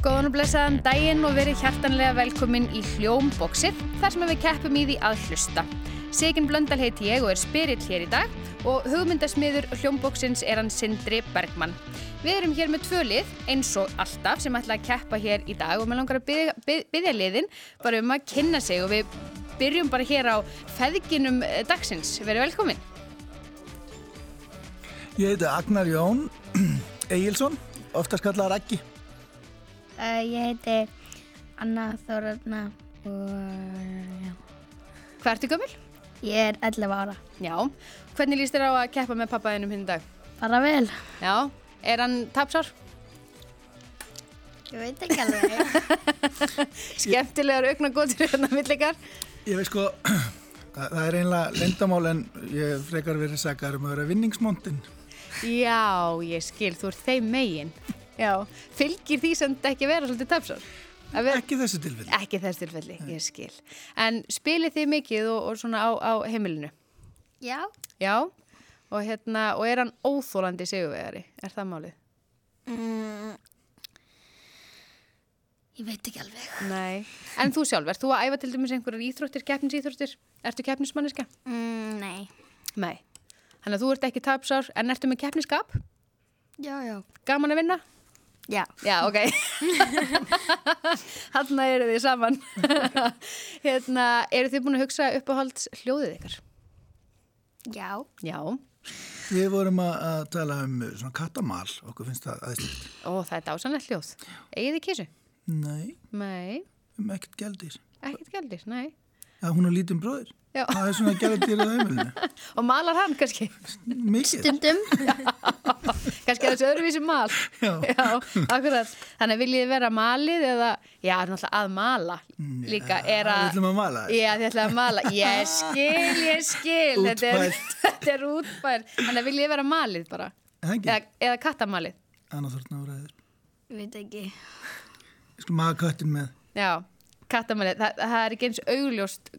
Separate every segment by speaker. Speaker 1: Góðan og blessaðan daginn og verið hjartanlega velkomin í Hljómboksið, þar sem við keppum í því að hlusta. Sigin Blöndal heiti ég og er spyrill hér í dag og hugmyndasmiður Hljómboksins er hann Sindri Bergmann. Við erum hér með tvö lið, eins og alltaf, sem ætla að keppa hér í dag og mér langar að byðja, byð- byðja liðin bara um að kynna sig og við byrjum bara hér á feðginum eh, dagsins. Verið velkomin.
Speaker 2: Ég heiti Agnar Jón Egilson, oftast kallaðar Aggi.
Speaker 3: Uh, ég heiti Anna Þórarna og já,
Speaker 1: Hvað ertu gömul?
Speaker 3: ég er 11 ára.
Speaker 1: Já. Hvernig líst þér á að keppa með pappaðinum hinn í dag?
Speaker 3: Bara vel.
Speaker 1: Já. Er hann tapsár?
Speaker 3: Ég veit ekki alveg.
Speaker 1: skemmtilegar augnagotur hérna millikar
Speaker 2: Ég veist sko, það það er einlega lendamál en ég hef frekar verið sakar um að vera vinningsmóndin.
Speaker 1: já, ég skil, þú ert þeim megin já, fylgir því sem ekki að vera svolítið tapsar ver...
Speaker 2: Ekki þessu tilfelli.
Speaker 1: ekki þess tilfelli, ég skil en spilið þið mikið og, og svona á, á heimilinu
Speaker 3: já,
Speaker 1: já, og hérna og er hann óþólandi sigurvegari, er það málið?
Speaker 3: Mm. ég veit ekki alveg.
Speaker 1: Nei. En þú sjálf, ert þú að æfa til dæmis einhverjar íþróttir, keppnisíþróttir? Ertu keppnismanniska?
Speaker 3: Mm, nei.
Speaker 1: Nei. Þannig að þú ert ekki tapsár, en ertu með keppniskap?
Speaker 3: Já, já.
Speaker 1: Gaman að vinna?
Speaker 3: Já.
Speaker 1: Já, ok. Hanna eru þið saman. hérna, eru þið búin að hugsa uppáhalds hljóðið ykkar?
Speaker 3: Já.
Speaker 1: Já.
Speaker 2: Við vorum að, að tala um svona kattamal, okkur finnst það aðeinslega.
Speaker 1: Ó, það er dásanlegt hljóð. Egið þið kísu?
Speaker 2: Nei,
Speaker 1: Nei,
Speaker 2: um ekkert gældir.
Speaker 1: ekkert gældir, nei.
Speaker 2: Það hún er lítinn bróðir.
Speaker 1: Já.
Speaker 2: Það er svona gældir á heimilinu.
Speaker 1: Og malar hann kannski?
Speaker 2: Mikið.
Speaker 3: Stundum.
Speaker 1: kannski er þessi öðruvísi mal.
Speaker 2: Já.
Speaker 1: Já, akkurat. Þannig að viljið þið vera malið eða, já, náttúrulega að mala líka er
Speaker 2: Mm. Við
Speaker 1: að...
Speaker 2: ætlum að mala þér.
Speaker 1: Já, þið ætlaði að mala. Ég skil, ég skil. Þetta er, þetta er útbært. Þannig að viljið þið vera malið bara.
Speaker 2: Það ekki.
Speaker 1: Eða, eða kattamalið.
Speaker 2: Anna Þorna áræður.
Speaker 3: Ég veit ekki.
Speaker 2: Ég skulum hafa köttin með.
Speaker 1: Já, kattamalið, Þa, það er ekki eins augljóst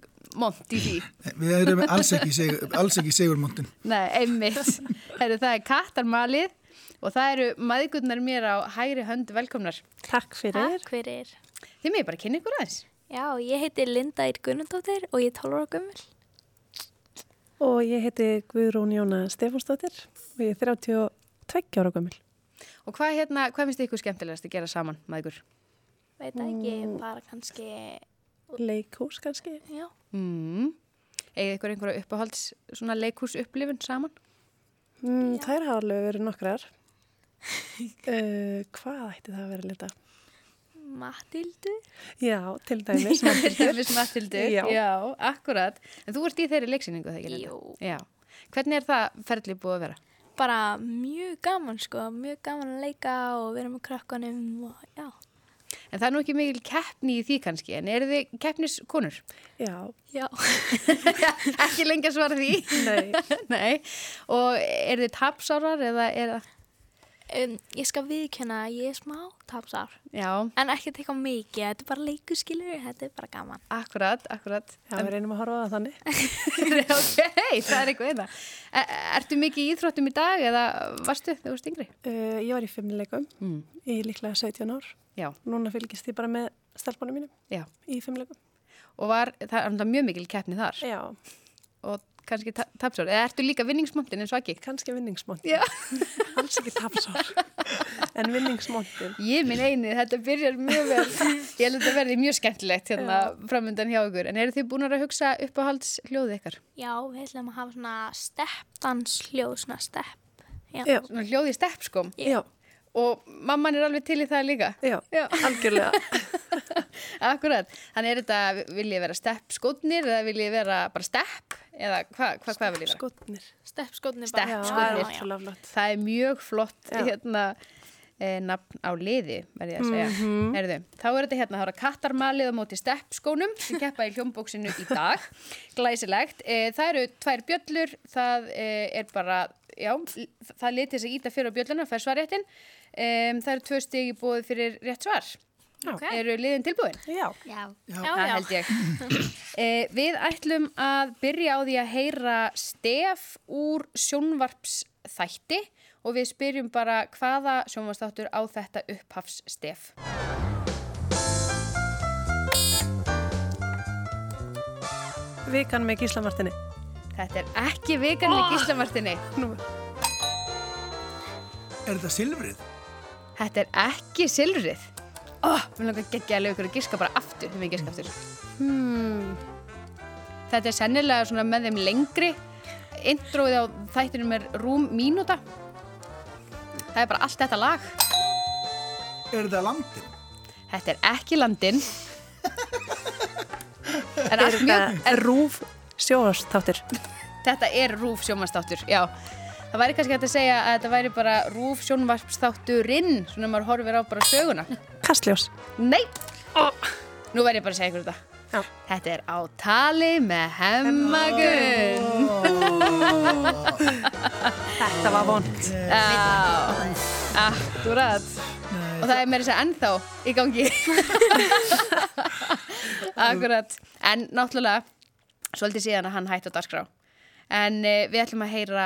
Speaker 1: mont í því.
Speaker 2: Nei, Við erum alls ekki, sigur, alls ekki sigurmóndin.
Speaker 1: Nei, einmitt. Heru, það er kattamalið og það eru maðgurnar mér á hægri hönd velkomnar.
Speaker 4: Takk fyrir.
Speaker 5: Takk fyrir.
Speaker 1: Þið með bara kynna ykkur aðeins.
Speaker 5: Já, ég heiti Linda Ír Gunnundóttir og ég er 12 ára gömul.
Speaker 4: Og ég heiti Guðrún Jóna Stefánsdóttir og ég er 32 ára gömul.
Speaker 1: Og hvað, hérna, hvað finnst ykkur skemmtilegast að gera saman, maðgur?
Speaker 5: Veit það ekki, bara kannski,
Speaker 4: Leikhús kannski.
Speaker 5: já.
Speaker 1: Mm. Egið ykkur einhverja uppáhalds svona leikús upplifun saman?
Speaker 4: Mm, þær hafa alveg verið nokkrar. uh, hvað ætti það að vera lita?
Speaker 5: Matildu.
Speaker 4: Já, til dæmis.
Speaker 1: Hilmis Matildur.
Speaker 4: Já.
Speaker 1: Já, akkurat. En þú ert í þeirri leiksýningu þegar ég
Speaker 5: Jú.
Speaker 1: Já. Hvernig er það ferli búið að vera?
Speaker 5: Bara mjög gaman sko, mjög gaman að leika og vera með krakkanum og já.
Speaker 1: En það er nú ekki mikil keppni í því kannski, en eru þið keppniskonur?
Speaker 4: Já,
Speaker 5: Já.
Speaker 1: ekki lengi að svara því.
Speaker 4: nei.
Speaker 1: Nei. Og eru þið tapsárar eða er það...
Speaker 5: Um, ég skal viðkjöna að ég er smá tapsar.
Speaker 1: Já,
Speaker 5: En ekki teka mikið, þetta er bara leikuskilur, þetta er bara gaman.
Speaker 1: akkurat, akkurat.
Speaker 4: Já, við reynum að horfa á það þannig.
Speaker 1: ok, það er eitthvað eina. Ertu mikið í íþróttum í dag eða varstu þegar þú varst yngri?
Speaker 4: Uh, ég var í fimmleikum
Speaker 1: Mm.
Speaker 4: í líklega 17 ár.
Speaker 1: Já,
Speaker 4: Núna fylgist ég bara með stelpunum mínum
Speaker 1: já.
Speaker 4: í fimmleikum.
Speaker 1: Og var, það er náttúrulega mjög mikil keppni þar
Speaker 4: Já,
Speaker 1: og kannski ta tapsár. Eða ertu líka vinningsmóndin eins og ekki?
Speaker 4: kannski vinningsmóndin.
Speaker 1: Já.
Speaker 4: Alls ekki tapsár. en vinningsmóndin.
Speaker 1: Ég minn eini, þetta byrjar mjög vel. Ég held að þetta verði mjög skemmtilegt hérna framöndan hjá ykkur. En eru þið búin að hugsa uppáhalds hljóðið ykkar?
Speaker 5: Já, við ætlum að hafa svona steppdanshljóð, svona stepp. Já.
Speaker 4: Já,
Speaker 1: Svona hljóðið steppskom
Speaker 4: já.
Speaker 1: og mamman er alveg til í það líka.
Speaker 4: Já,
Speaker 1: Já.
Speaker 4: algjörlega.
Speaker 1: Akkurat. Þannig er þetta, vil ég vera steppskotnir eða vil ég vera bara stepp? Eða hvað hva, hva vil ég vera?
Speaker 4: Skotnir.
Speaker 5: Steppskotnir
Speaker 1: Stepp,
Speaker 5: bara.
Speaker 4: Já,
Speaker 1: Skotnir.
Speaker 4: það er
Speaker 5: Já, já.
Speaker 4: ótrúlega flott.
Speaker 1: Það er mjög flott
Speaker 4: Já.
Speaker 1: hérna eh, nafn á liði, verði ég að segja. Herðu, þá er þetta hérna, þá er það kattarmalið á móti steppskónum sem keppa í hljómbóksinu í dag. Glæsilegt. Eh, Það eru tvær bjöllur, það eh, er bara, já, það litið sig íta fyrir á bjölluna, fær svarréttin. Em, Það eru tvö stig í bóði fyrir rétt svar.
Speaker 4: Já.
Speaker 1: Eru liðin tilbúin?
Speaker 4: Já,
Speaker 3: Já.
Speaker 5: Já,
Speaker 1: Það
Speaker 5: já.
Speaker 1: held ég. Eh, við ætlum að byrja á því að heyra stef úr sjónvarpsþætti og við spyrjum bara hvaða sjónvarpsþáttur á þetta upphafsstef.
Speaker 4: vikan með gíslamartinni?
Speaker 1: Þetta er ekki vikan með gíslamartinni.
Speaker 4: Nú,
Speaker 2: Er þetta silfrið?
Speaker 1: Þetta er ekki silfrið. Oh, mér langar geggja að lega ykkur að giska bara aftur, þegar ég giska aftur. Hmm. Þetta er sennilega svona með þeim lengri. Introið á þættinum er rúm mínúta. Það er bara allt þetta lag.
Speaker 2: Er þetta landin?
Speaker 1: Þetta er ekki landinn. En allt mjög,
Speaker 4: það er rúf sjóastáttir.
Speaker 1: Þetta er rúf sjónvarpsþáttur, já. Það væri kannski hægt að segja að þetta væri bara rúf sjónvarpsþátturinn, svona ef maður horfir á bara söguna.
Speaker 4: Kastljós.
Speaker 1: Nei! Nú væri ég bara að segja ykkur þetta.
Speaker 4: Já.
Speaker 1: Þetta er á tali með hemmagun.
Speaker 4: Þetta var vond.
Speaker 1: Já, akkurat. Og það er meira þess að segja ennþá í gangi. akkurat. En náttúrulega, svolítið síðan að hann hætti á dagskrá. En uh, við ætlum að heyra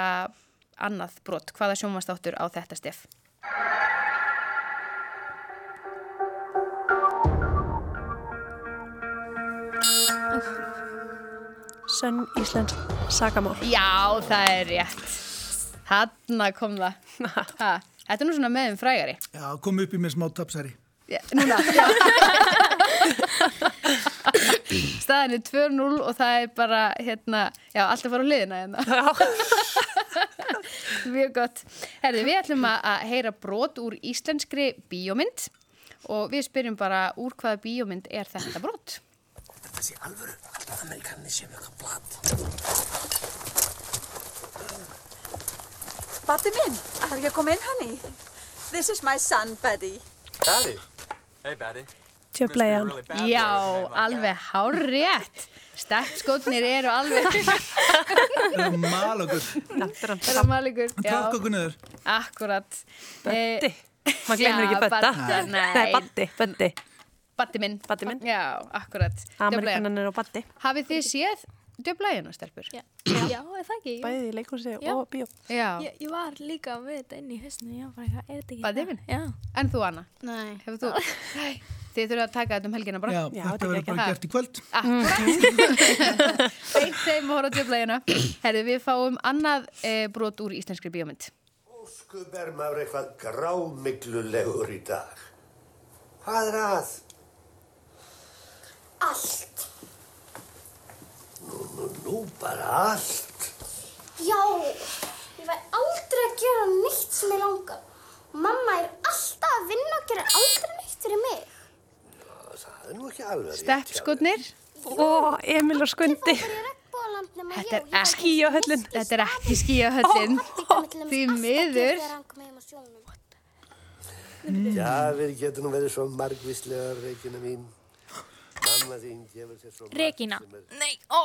Speaker 1: annað brot. Hvaða sjónvastáttur á þetta stef?
Speaker 4: Sönn Íslands sagamál.
Speaker 1: Já, það er rétt. Hanna kom það. Ha, þetta er nú svona meðum frægari.
Speaker 2: Já, kom upp í mér smá tapsari.
Speaker 1: Já, Núna. Staðan er 2-0 og það er bara, hérna, já, allt að fara á liðina hérna. Mjög gott. Herði, við ætlum að að heyra brot úr íslenskri bíómynd og við spyrjum bara úr hvaða bíómynd er þetta brot?
Speaker 6: Þessi alvöru, amerikanni sem eitthvað blatt.
Speaker 7: Buddy minn, ætlar ekki að koma inn, honey? This is my son, Buddy.
Speaker 6: Daddy. Hey, Daddy.
Speaker 4: Tjöflega hann.
Speaker 1: Já, alveg hár rétt. Stakkskotnir eru alveg,
Speaker 2: Er það malagur?
Speaker 1: eru malikur.
Speaker 2: Takk okkur niður.
Speaker 1: Akkurat.
Speaker 4: Bötti.
Speaker 1: Eh,
Speaker 4: Man glemur
Speaker 1: já,
Speaker 4: ekki bötta.
Speaker 1: Badda, nei.
Speaker 4: Nei, bötti, bötti.
Speaker 1: Baddi minn.
Speaker 4: Baddi minn.
Speaker 1: Já, akkurat. Djöflagan.
Speaker 4: Amerikanan er á bötti.
Speaker 1: Hafið þið séð döblægina, stelpur?
Speaker 5: Já, já er það ekki?
Speaker 4: Bæði í leikursi
Speaker 5: Já.
Speaker 4: og bíó.
Speaker 1: Já.
Speaker 5: Ég, ég var líka með þetta inn í hausnum, já, bara eitthvað, er þetta ekki?
Speaker 1: Baddi
Speaker 5: það?
Speaker 1: minn?
Speaker 5: Já.
Speaker 1: En þú, Anna?
Speaker 3: Nei.
Speaker 1: Hefur þú? Nei. Þið þurfum að taka þetta um helgina bara.
Speaker 2: Já,
Speaker 4: Já,
Speaker 2: þetta
Speaker 4: þetta
Speaker 2: verður
Speaker 4: gekk
Speaker 2: bara
Speaker 1: það.
Speaker 2: gert í kvöld.
Speaker 1: Beint þeim og horfa á döblægina. Herðu, við fáum annað e, brot úr íslenskri bíómynd.
Speaker 8: Óskup er maður eitthvað grámiglulegur í dag. Hvað er að?
Speaker 9: Allt.
Speaker 8: Nú, nú bara allt.
Speaker 9: Já, ég væri aldrei að gera neitt sem ég langar. Mamma er alltaf að vinna og gera aldrei neitt fyrir mig.
Speaker 8: Það er nú ekki alveg rétt hjá þér.
Speaker 1: Steppskotnir?
Speaker 4: Ó, Emil og Skundi.
Speaker 9: Ég er regnbóland nema
Speaker 1: Þetta
Speaker 9: ég og
Speaker 1: er
Speaker 9: ég var
Speaker 1: ekki-
Speaker 4: Skíahöllin.
Speaker 1: Þetta er ekki skíahöllin. Því miður.
Speaker 8: Já, við getum nú verið svo margvíslegar, Regina mín. Mamma þín gefur sér svo margt
Speaker 5: Regína.
Speaker 8: sem er-
Speaker 5: Nei, ó,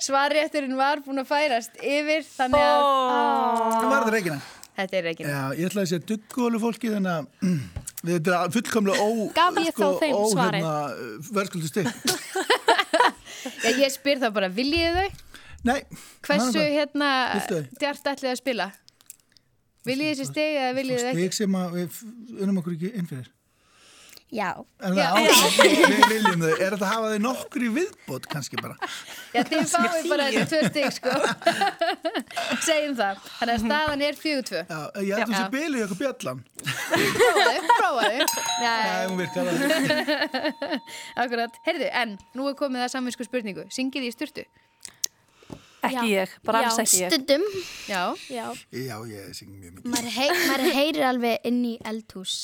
Speaker 1: Svarrétturinn var búin að færast yfir, þannig að
Speaker 2: Það var þetta reikina.
Speaker 1: þetta er ekki.
Speaker 2: Já, ég ætlaði að segja duggólu fólki þannig að við þetta er fullkomlega ó... sko,
Speaker 5: Gaf ég þá þeim
Speaker 2: ó,
Speaker 5: svarið?
Speaker 2: Hérna, verðskuldu stið.
Speaker 1: Já, ég spyr það bara, viljið þau?
Speaker 2: Nei.
Speaker 1: Hversu hérna
Speaker 2: Viltu?
Speaker 1: djart ætlið að spila? Viljið þessi steg eða viljið þið ekki?
Speaker 2: Steg sem að við unum okkur ekki inn fyrir.
Speaker 3: Já.
Speaker 2: En
Speaker 1: Já.
Speaker 2: það áfram, við viljum þau. Er þetta að hafa þau nokkri viðbót kannski bara?
Speaker 1: Já, þið fáið bara þessi tvö steg sko. Segjum það. Þannig að staðan er fjögur tvö.
Speaker 2: Já, ég ætlum
Speaker 1: Já.
Speaker 2: sér bilið okkur bjallan.
Speaker 1: Prófaðu, prófaðu.
Speaker 2: Nei,
Speaker 1: Nei,
Speaker 2: hún virkar að
Speaker 1: akkurat. Heyrðu, en nú er komið að samvinsku spurningu. Syngið í styrtu?
Speaker 4: Ekki
Speaker 5: Já.
Speaker 4: ég, bara alls
Speaker 5: Já.
Speaker 4: ekki ég.
Speaker 3: Stundum,
Speaker 1: Já.
Speaker 5: já,
Speaker 2: Já, ég syng mjög mikið.
Speaker 3: maður, hei, maður heyrir alveg inn í eldhús.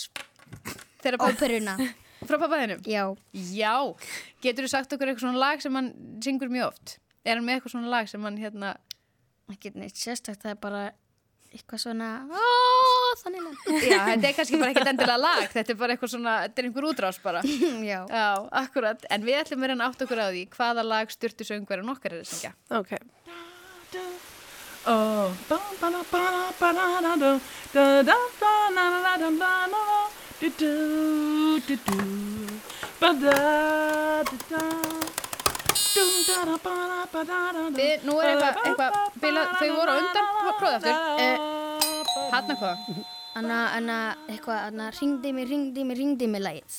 Speaker 1: Þegar pappa,
Speaker 3: Óperuna.
Speaker 1: frá pappaðinum?
Speaker 3: Já.
Speaker 1: Já. Getur þú sagt okkur eitthvað svona lag sem hann syngur mjög oft? Er hann með eitthvað svona lag sem hann hérna...
Speaker 3: Ekki neitt sérstakt, það er bara eitthvað svona, ó, þannig langt.
Speaker 1: Já, þetta er kannski bara ekkert endilega lag. Þetta er bara eitthvað svona, þetta er einhver útrás bara.
Speaker 3: Já.
Speaker 1: Já, akkurat, en við ætlum að reyna átt okkur á því hvaða lag styrtu söngverðan okkar er að syngja.
Speaker 4: Ok.
Speaker 1: Við, nú er eitthvað, eitthvað, bilað, þau voru á undan, pró- prófið aftur. Eh. Hanna hvað?
Speaker 3: Anna, anna, eitthvað, anna, ringdi mig, ringdi mig, ringdi mig lægið.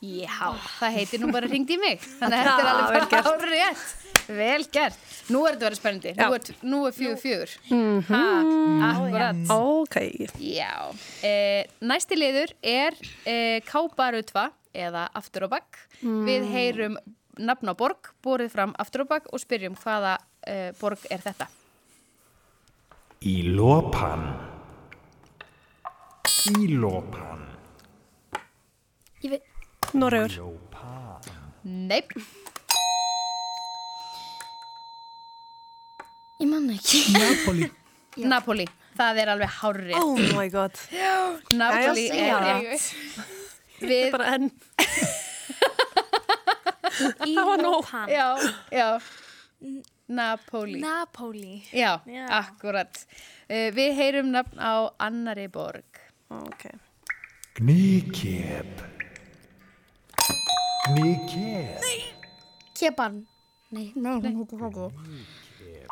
Speaker 1: Já, það heitir nú bara ringd í mig Þannig að þetta er alveg bara ára rétt Vel gert, nú er þetta verið spennandi Nú er, nú er fjögur fjögur ha, Akkurat
Speaker 4: Ok,
Speaker 1: Já, e, næsti liður er e, Kábarutva eða aftur á bakk.
Speaker 4: Mm.
Speaker 1: Við heyrum nafn á borg, borið fram aftur á bakk og spyrjum hvaða e, borg er þetta.
Speaker 10: Ílopan Ílopan
Speaker 3: Ég veit,
Speaker 4: Noregur.
Speaker 1: Nei,
Speaker 3: ég manna ekki.
Speaker 2: Napoli,
Speaker 1: Napoli, það er alveg hárrið.
Speaker 4: Oh my god.
Speaker 1: Napoli
Speaker 4: Jæja,
Speaker 1: er
Speaker 4: segja
Speaker 1: rétt. Við,
Speaker 4: Bara enn.
Speaker 5: Ílopan.
Speaker 1: já, já, Napoli.
Speaker 5: Napoli.
Speaker 1: já,
Speaker 5: Já.
Speaker 1: akkurat. E, við heyrum nafn á annari borg.
Speaker 4: Ok.
Speaker 10: Gníkjep Gníkjep
Speaker 3: Keban. Nei, nei, hún heitir það ekki.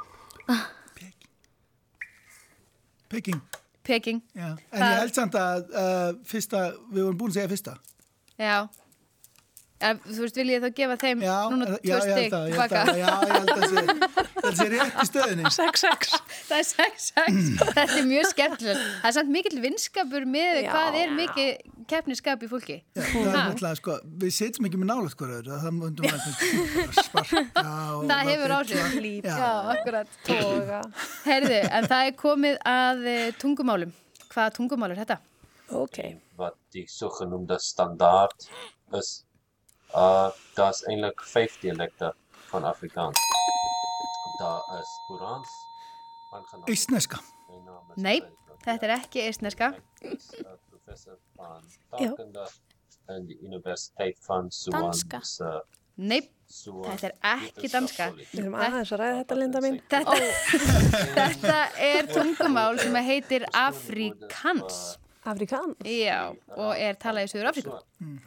Speaker 2: Peking
Speaker 1: Peking,
Speaker 2: já. En
Speaker 1: Það-
Speaker 2: ég held samt að uh, fyrsta, við vorum búin að segja fyrsta
Speaker 1: Já Eh, Þú veist, vil ég þá gefa þeim
Speaker 2: Já, eh,
Speaker 1: núna
Speaker 2: já,
Speaker 1: tvö
Speaker 2: ég held
Speaker 1: stygg
Speaker 2: að, ég held að, já, ég held að sé, ég held að sé rétt í stöðinni
Speaker 4: 6-6.
Speaker 1: Það er 6-6, þetta er mjög skemmtilegt Það er samt mikill vinskapur með
Speaker 4: Já.
Speaker 1: hvað er mikið keppniskap í fólki
Speaker 2: Já, það er náttúrulega, sko, við sitjum ekki með nálægt hverju öðru, það myndum við að sparka og
Speaker 1: Það hefur
Speaker 2: láta
Speaker 1: áhrif
Speaker 2: illa.
Speaker 1: Líf.
Speaker 2: Já.
Speaker 1: Já, akkurat
Speaker 4: Toga.
Speaker 1: Herðu, en það er komið að eh, tungumálum Hvaða tungumál er þetta?
Speaker 4: Ok.
Speaker 6: Wat ik zoeken om de standaard is, uh, dat is eigenlijk vijf dialecten van Afrikaans. Dat is Koerans, aangenaam.
Speaker 2: Ísneska,
Speaker 6: Mijn naam is
Speaker 1: Nei,
Speaker 6: Frederik.
Speaker 1: þetta er ekki eistneska
Speaker 6: Ek is, uh, professor van taalkunde aan de Universiteit van Suwan.
Speaker 5: Danska.
Speaker 6: se-
Speaker 1: Nei,
Speaker 6: Suwan
Speaker 1: þetta er ekki danska
Speaker 6: Wetenskapskollegie.
Speaker 4: Við erum aðeins að ræða þetta, Linda mín.
Speaker 1: Þetta, þetta er tungumál sem að heitir afrikans
Speaker 4: Afrikan.
Speaker 1: Já, og er talað í Suður Afríku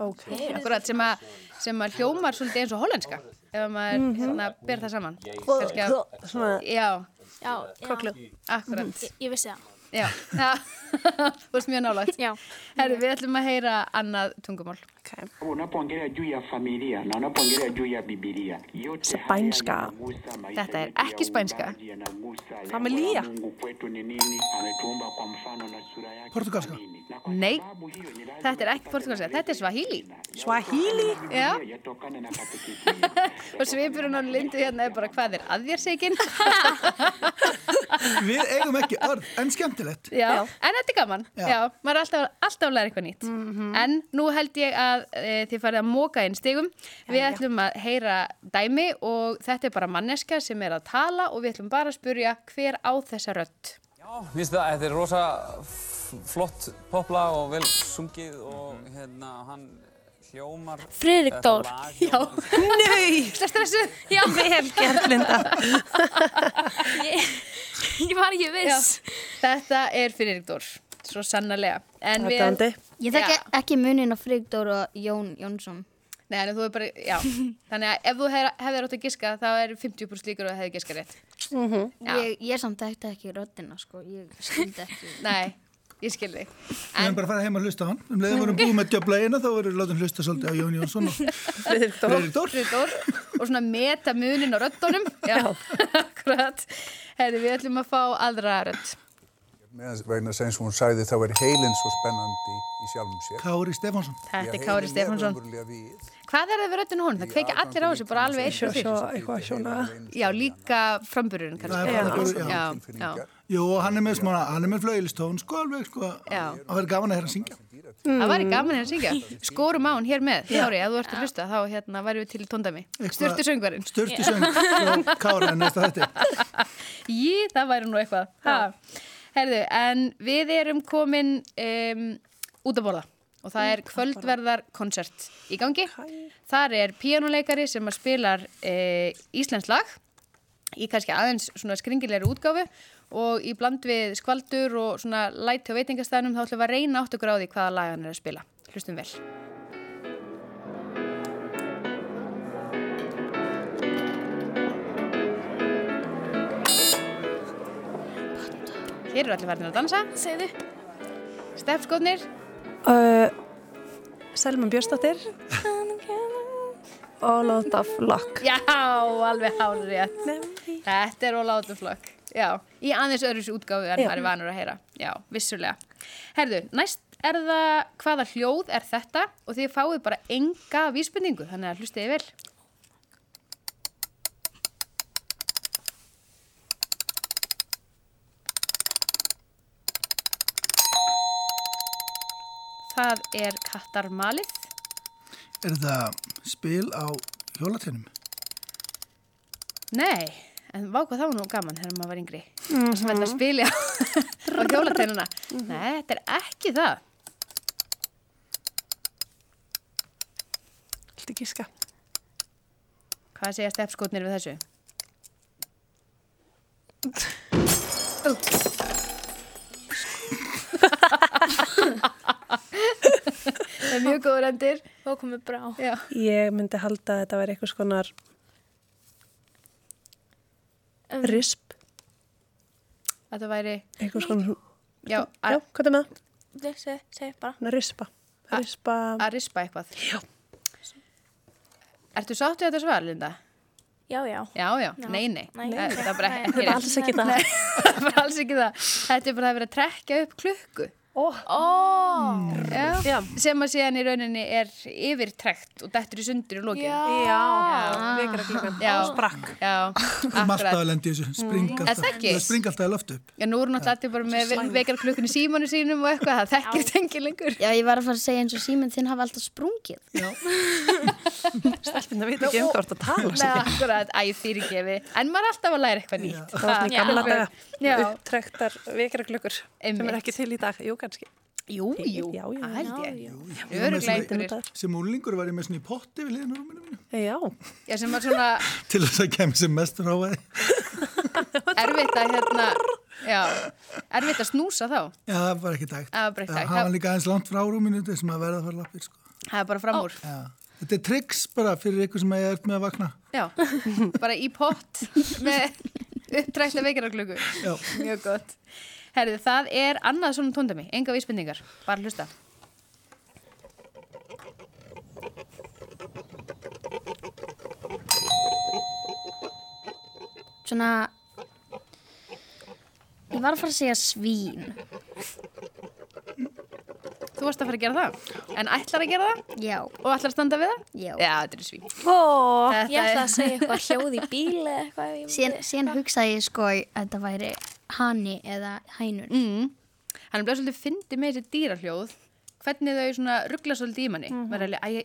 Speaker 4: Ok.
Speaker 1: akkurat sem að, sem að hljómar svolítið eins og hollenska ef maður hérna, ber það saman Kannski að,
Speaker 4: Svona,
Speaker 1: já,
Speaker 5: Já, já.
Speaker 1: akkurat
Speaker 5: Ég, ég vissi það.
Speaker 1: já, já. þú veist mjög nálægt
Speaker 5: Já.
Speaker 1: Herru, við ætlum að heyra annað tungumál
Speaker 4: ok.
Speaker 11: Unapoongelea juu ya familia na unapoongelea juu ya Biblia, yote haya
Speaker 4: Spænska.
Speaker 11: yanagusa maisha
Speaker 1: Þetta er
Speaker 11: yetu ya
Speaker 1: ekki spænska.
Speaker 11: uumbaji, yanagusa lengo la
Speaker 4: Familia.
Speaker 11: Mungu kwetu ni nini? Ametuumba kwa mfano na sura yake
Speaker 2: portugalska,
Speaker 11: ni nini? Na kwa
Speaker 1: Nei,
Speaker 11: sababu hiyo ni lazima
Speaker 1: þetta er ekki portugalska, þetta er swahili
Speaker 4: Swahili.
Speaker 1: Já,
Speaker 11: yatokane na katekisimu.
Speaker 1: og svipurinn á lindu hérna er bara hvað er að þér segin
Speaker 2: við eigum ekki orð, en skemmtilegt.
Speaker 1: Já, en þetta er gaman Já, Mhm.
Speaker 2: Já.
Speaker 1: maður er alltaf, alltaf að læra eitthvað nýtt En nú held ég að e, þið farið að móka einn stigum Við ætlum að heyra dæmi og þetta er bara manneska sem er að tala og við ætlum bara að spurja hver á þessa rödd
Speaker 11: Já, víst það, þetta er rosa f- flott poplag og vel sungið og hérna, hann hljómar...
Speaker 5: Friðrik
Speaker 11: þetta
Speaker 5: Dór.
Speaker 11: lag
Speaker 1: Já,
Speaker 11: hljómar-
Speaker 4: Nei!
Speaker 1: það stressu Já,
Speaker 4: Vel gert, Linda.
Speaker 5: Ég, ég var ekki viss.
Speaker 1: þetta er fyrir ykkur Svo sannarlega En við
Speaker 4: Þetta
Speaker 3: Ég þekki ekki munin á Frigdór og Jón Jónsson.
Speaker 1: Nei, en þú er bara, já Þannig að ef þú hef- hefðir átt að giska þá er 50% líkur og hefði giska rétt Já.
Speaker 3: Ég, ég samt þekkti ekki röddina, sko. Ég skildi ekki.
Speaker 1: Nei, ég skil þig
Speaker 2: Við erum bara að fara heim að hlusta á hann. Um leiðum vorum búið með djöblegina þá vorum við látið hlusta svolítið á Jón Jónsson og
Speaker 4: Friðrik
Speaker 2: Friðrik Dór.
Speaker 1: Friðdór og svona meta munin á röddunum Já, akkurat Herði, við ætlum að fá aðra rödd
Speaker 11: Meðan vegna sem hún sagði þá er heilin svo spennandi í sjálfum sér.
Speaker 2: Kári Stefánsson.
Speaker 1: Þetta er Kári Stefánsson Hvað er það við röddunum hún? Það kveikja allir á þessu bara alveg eins og
Speaker 4: Svo
Speaker 1: fyrr
Speaker 4: eitthvað svona.
Speaker 1: Já, líka framburðurinn kannski
Speaker 2: Það er framburður,
Speaker 1: já.
Speaker 2: já.
Speaker 1: Já, já.
Speaker 2: Jú, og hann er með smá, hann er með flögilistón, sko alveg, sko.
Speaker 1: Já.
Speaker 2: Og það er gaman að hérna syngja.
Speaker 1: Það væri gaman hérna að syngja Skorum á hún hér með, Kári, ef þú ert að hlusta þá hérna væri við til í tóndæmi Styrtu söngvarinn
Speaker 2: Störti söng frá Kára en næsta þetta.
Speaker 1: Jí, það væri nú eitthvað ha. Herðu, en við erum komin um, út að borða og það er kvöldverðarkonsert í gangi. Þar er píanuleikari sem að spilar e, Íslands lag í kannski aðeins svona skringilegri útgáfu og í bland við skvaldur og svona læti á veitingastæðnum þá ætlum við að reyna átt okkur á því hvaða lag hann er að spila. Hlustum vel. Hér eru allir verðin að dansa.
Speaker 5: Segðu.
Speaker 1: Stefskotnir,
Speaker 4: Uh, Selma Björnsdóttir All of the flock
Speaker 1: Já, alveg hárið Þetta er All Out of Luck Já, í aðeins öðru útgáfu en
Speaker 4: Já.
Speaker 1: maður er vanur að heyra Já, vissulega Herðu, næst er það hvaða hljóð er þetta og þið fáið bara enga vísbendingu þannig að hlustiði vel Það er kattarmalið
Speaker 2: Er það spil á hjólatinum?
Speaker 1: Nei, en vá hvað það var nú gaman þegar maður var yngri. Sem þetta spili á, á hjólateinuna. Nei, þetta er ekki það.
Speaker 4: Þetta gíska.
Speaker 1: Hvað segja stefnskotnir við þessu? Það er mjög góður endir.
Speaker 5: Þá komið brá.
Speaker 1: Já.
Speaker 4: Ég myndi halda að þetta væri eitthvað skonar
Speaker 5: Um,
Speaker 4: risp,
Speaker 1: Þetta væri,
Speaker 4: eitthvað skonar
Speaker 1: já,
Speaker 4: Já,
Speaker 1: að,
Speaker 4: hvað er með það?
Speaker 5: Nei, seg, seg bara.
Speaker 4: Svona rispa.
Speaker 1: Ah.
Speaker 4: Rispa,
Speaker 1: að rispa eitthvað. Já. Ertu sáttu þetta svar, Linda?
Speaker 5: Já, já.
Speaker 1: Já, já,
Speaker 5: Já.
Speaker 1: nei, nei,
Speaker 5: Nei.
Speaker 1: Það, það er bara
Speaker 5: Nei.
Speaker 1: ekki
Speaker 5: Þetta er alls ekki það.
Speaker 1: Nei, það er bara alls ekki það Þetta er bara að vera að trekja upp klukku
Speaker 4: oh.
Speaker 1: Oh.
Speaker 4: Mm.
Speaker 1: Já. sem að síðan í rauninni er yfirtrekt og dettur í sundur í lokin
Speaker 5: Já.
Speaker 1: Já.
Speaker 4: vekara klukkan.
Speaker 1: Já.
Speaker 4: Sprakk.
Speaker 1: Já,
Speaker 2: Um alltaf að
Speaker 1: akkurat Mm.
Speaker 2: lendi þessu, spring
Speaker 1: Er
Speaker 2: alltaf.
Speaker 1: það ekki?
Speaker 2: Það spring alltaf að loftu upp.
Speaker 1: Já, nú eru náttúrulega allir bara með vekar klukkun í símanu sínum og eitthvað, það þekkir þetta enginn lengur
Speaker 3: Já, ég var að fara að segja eins og síminn þinn hafa alltaf sprungið.
Speaker 4: Stelpinn að vita ekki um hvað þú ert að tala.
Speaker 1: Nei, akkurat, æ, fyrirgefi En maður er alltaf að læra eitthvað nýtt
Speaker 4: Það var svona í gamla daga.
Speaker 1: Já.
Speaker 4: Upptrektar vekara klukkur sem
Speaker 1: Einmitt.
Speaker 4: er ekki til í dag. Jú, kannski.
Speaker 1: Jú, jú,
Speaker 4: Já, já.
Speaker 1: það held ég
Speaker 2: Ég var með
Speaker 1: Örugglega
Speaker 2: svona-
Speaker 1: einhverjir.
Speaker 2: Sem úlingur var ég með svona í potti við liðinu rúminu mínu.
Speaker 4: Já.
Speaker 1: Já, sem var svona
Speaker 2: Til þess að kemur sem mest ráðaði.
Speaker 1: erfitt að hérna Já, erfitt að snúsa þá
Speaker 2: Já, það var ekki dægt.
Speaker 1: Það var bara ekki hægt.
Speaker 2: Það var líka aðeins langt frá rúminu þessum að verða að fara lappir, sko.
Speaker 1: Það er bara fram úr.
Speaker 2: Já. Þetta er triks bara fyrir ykkur sem ég er með að vakna.
Speaker 1: Já, bara í pott með uppdrækta vekjararklöku.
Speaker 2: Já.
Speaker 1: Mjög gott. Herði, það er annað svona tóndami, enga vísbendingar, bara hlusta.
Speaker 3: Svona, ég var að fara að segja svín.
Speaker 1: Þú varst að fara að gera það, en ætlar að gera það
Speaker 3: Já,
Speaker 1: og ætlar að standa við það?
Speaker 3: já.
Speaker 1: Já, þetta er svín.
Speaker 5: Ó,
Speaker 1: Þetta
Speaker 5: ég ætla
Speaker 1: er-
Speaker 5: að segja eitthvað hljóð í bíl eða eitthvað. ef ég
Speaker 3: Síðan,
Speaker 5: myndi-
Speaker 3: síðan hugsaði ég sko að þetta væri hanni eða hænur.
Speaker 1: Mm. Hann er bleið svolítið fyndið með þessi dýrahljóð, hvernig þau svona ruggla svolítið í manni. Mm -hmm. alveg, æ,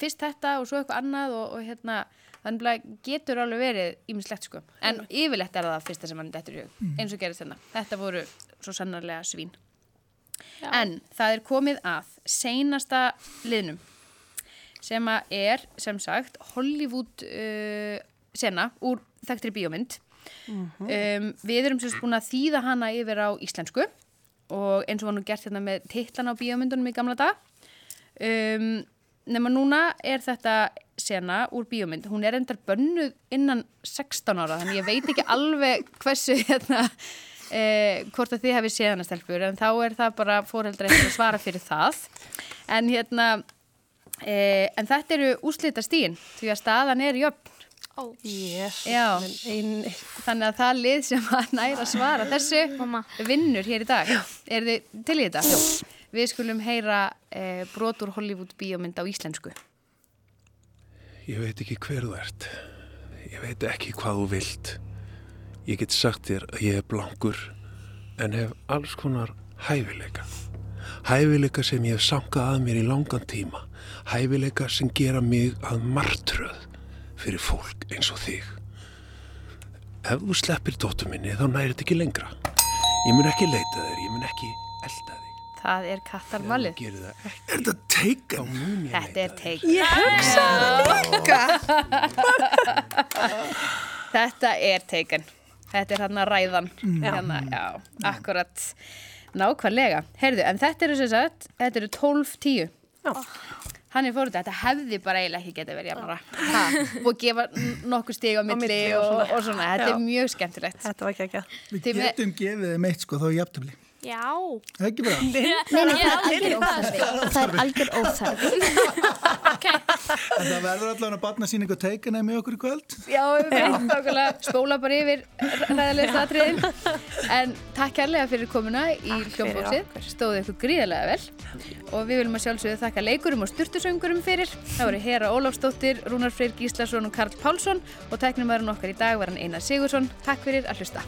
Speaker 1: fyrst þetta og svo eitthvað annað og, og hérna, þannig að getur alveg verið ímislegt sko. En yfirleitt er það það fyrsta sem hann dettur í hug, eins og gerist þennan. Þetta voru svo sannarlega svín.
Speaker 5: Já.
Speaker 1: En það er komið að seinasta liðnum sem að er, sem sagt, Hollywood uh, sena úr þekktri bíómynd. um, við erum sérst búin að þýða hana yfir á íslensku og eins og var nú gert hérna með titlan á bíómyndunum í gamla dag. Um, nema núna er þetta sena úr bíómynd. Hún er endar bönnuð innan 16 ára þannig ég veit ekki alveg hversu hérna Uh, hvort að þið hefði séðana stelpur en þá er það bara fóreldra eftir að svara fyrir það en hérna uh, en þetta eru úslita stíin því að staðan er jöfn
Speaker 5: Ó,
Speaker 4: Yes.
Speaker 1: Já.
Speaker 4: En ein,
Speaker 1: Þannig að það lið sem að næra svara þessu vinnur hér í dag. Er þið til í þetta? Jó. Við skulum heyra eh, brot úr Hollywood bíómynd á íslensku.
Speaker 12: Ég veit ekki hver þú ert. Ég veit ekki hvað þú vilt. Ég get sagt þér að ég er blankur en hef alls konar hæfileika. Hæfileika sem ég hef sangað að mér í langan tíma. Hæfileika sem gera mig að martröð fyrir fólk eins og þig. Ef þú sleppir dóttu minni þá næri þetta ekki lengra. Ég mun ekki leita þér, ég mun ekki elda þig.
Speaker 1: Það er kattarvalið.
Speaker 12: Gerir það ekki. Er þetta taken? Þá mun ég
Speaker 1: Þetta er teik.
Speaker 4: Ég hugsaði
Speaker 1: Þetta er teikin. Þetta er hérna ræðan. Hérna, já, akkurat. Nákvæmlega. Heyrðu, en þetta eru sem sagt, þetta eru 12-10.
Speaker 4: Já.
Speaker 1: Oh. Hann er fórhundið, þetta hefði bara eiginlega ekki getið verið jafnara. Ha, Og gefa n- nokkur stig á milli
Speaker 4: milli
Speaker 1: og,
Speaker 4: og
Speaker 1: og,
Speaker 4: svona.
Speaker 1: svona. Þetta
Speaker 4: Já.
Speaker 1: er mjög skemmtilegt.
Speaker 4: Þetta var ekki ekki að.
Speaker 2: Við
Speaker 1: Þið með-
Speaker 2: getum gefið þeim eitt, sko, þá er jafntöfli.
Speaker 5: Já.
Speaker 2: Það er ekki bara.
Speaker 3: Nei, nei, það er algjör óþarfi. Það er algjör óþarfi.
Speaker 2: En það verður allavega að batna síningu teikana með okkur í kvöld.
Speaker 1: Já, við veitum okkurlega spóla bara yfir ræðilegst atriðin. En takk kærlega fyrir komuna í hljómbóksið. Stóðu ykkur gríðarlega vel. Og við viljum að sjálfsögðu þakka leikurum og styrtusöngurum fyrir. Það voru Hera Ólafsdóttir, Rúnar Freyr Gíslason og Karl Pálsson. Og teknumæðurinn okkar í dag var hann Einar Sigursson. Takk fyrir að hlusta.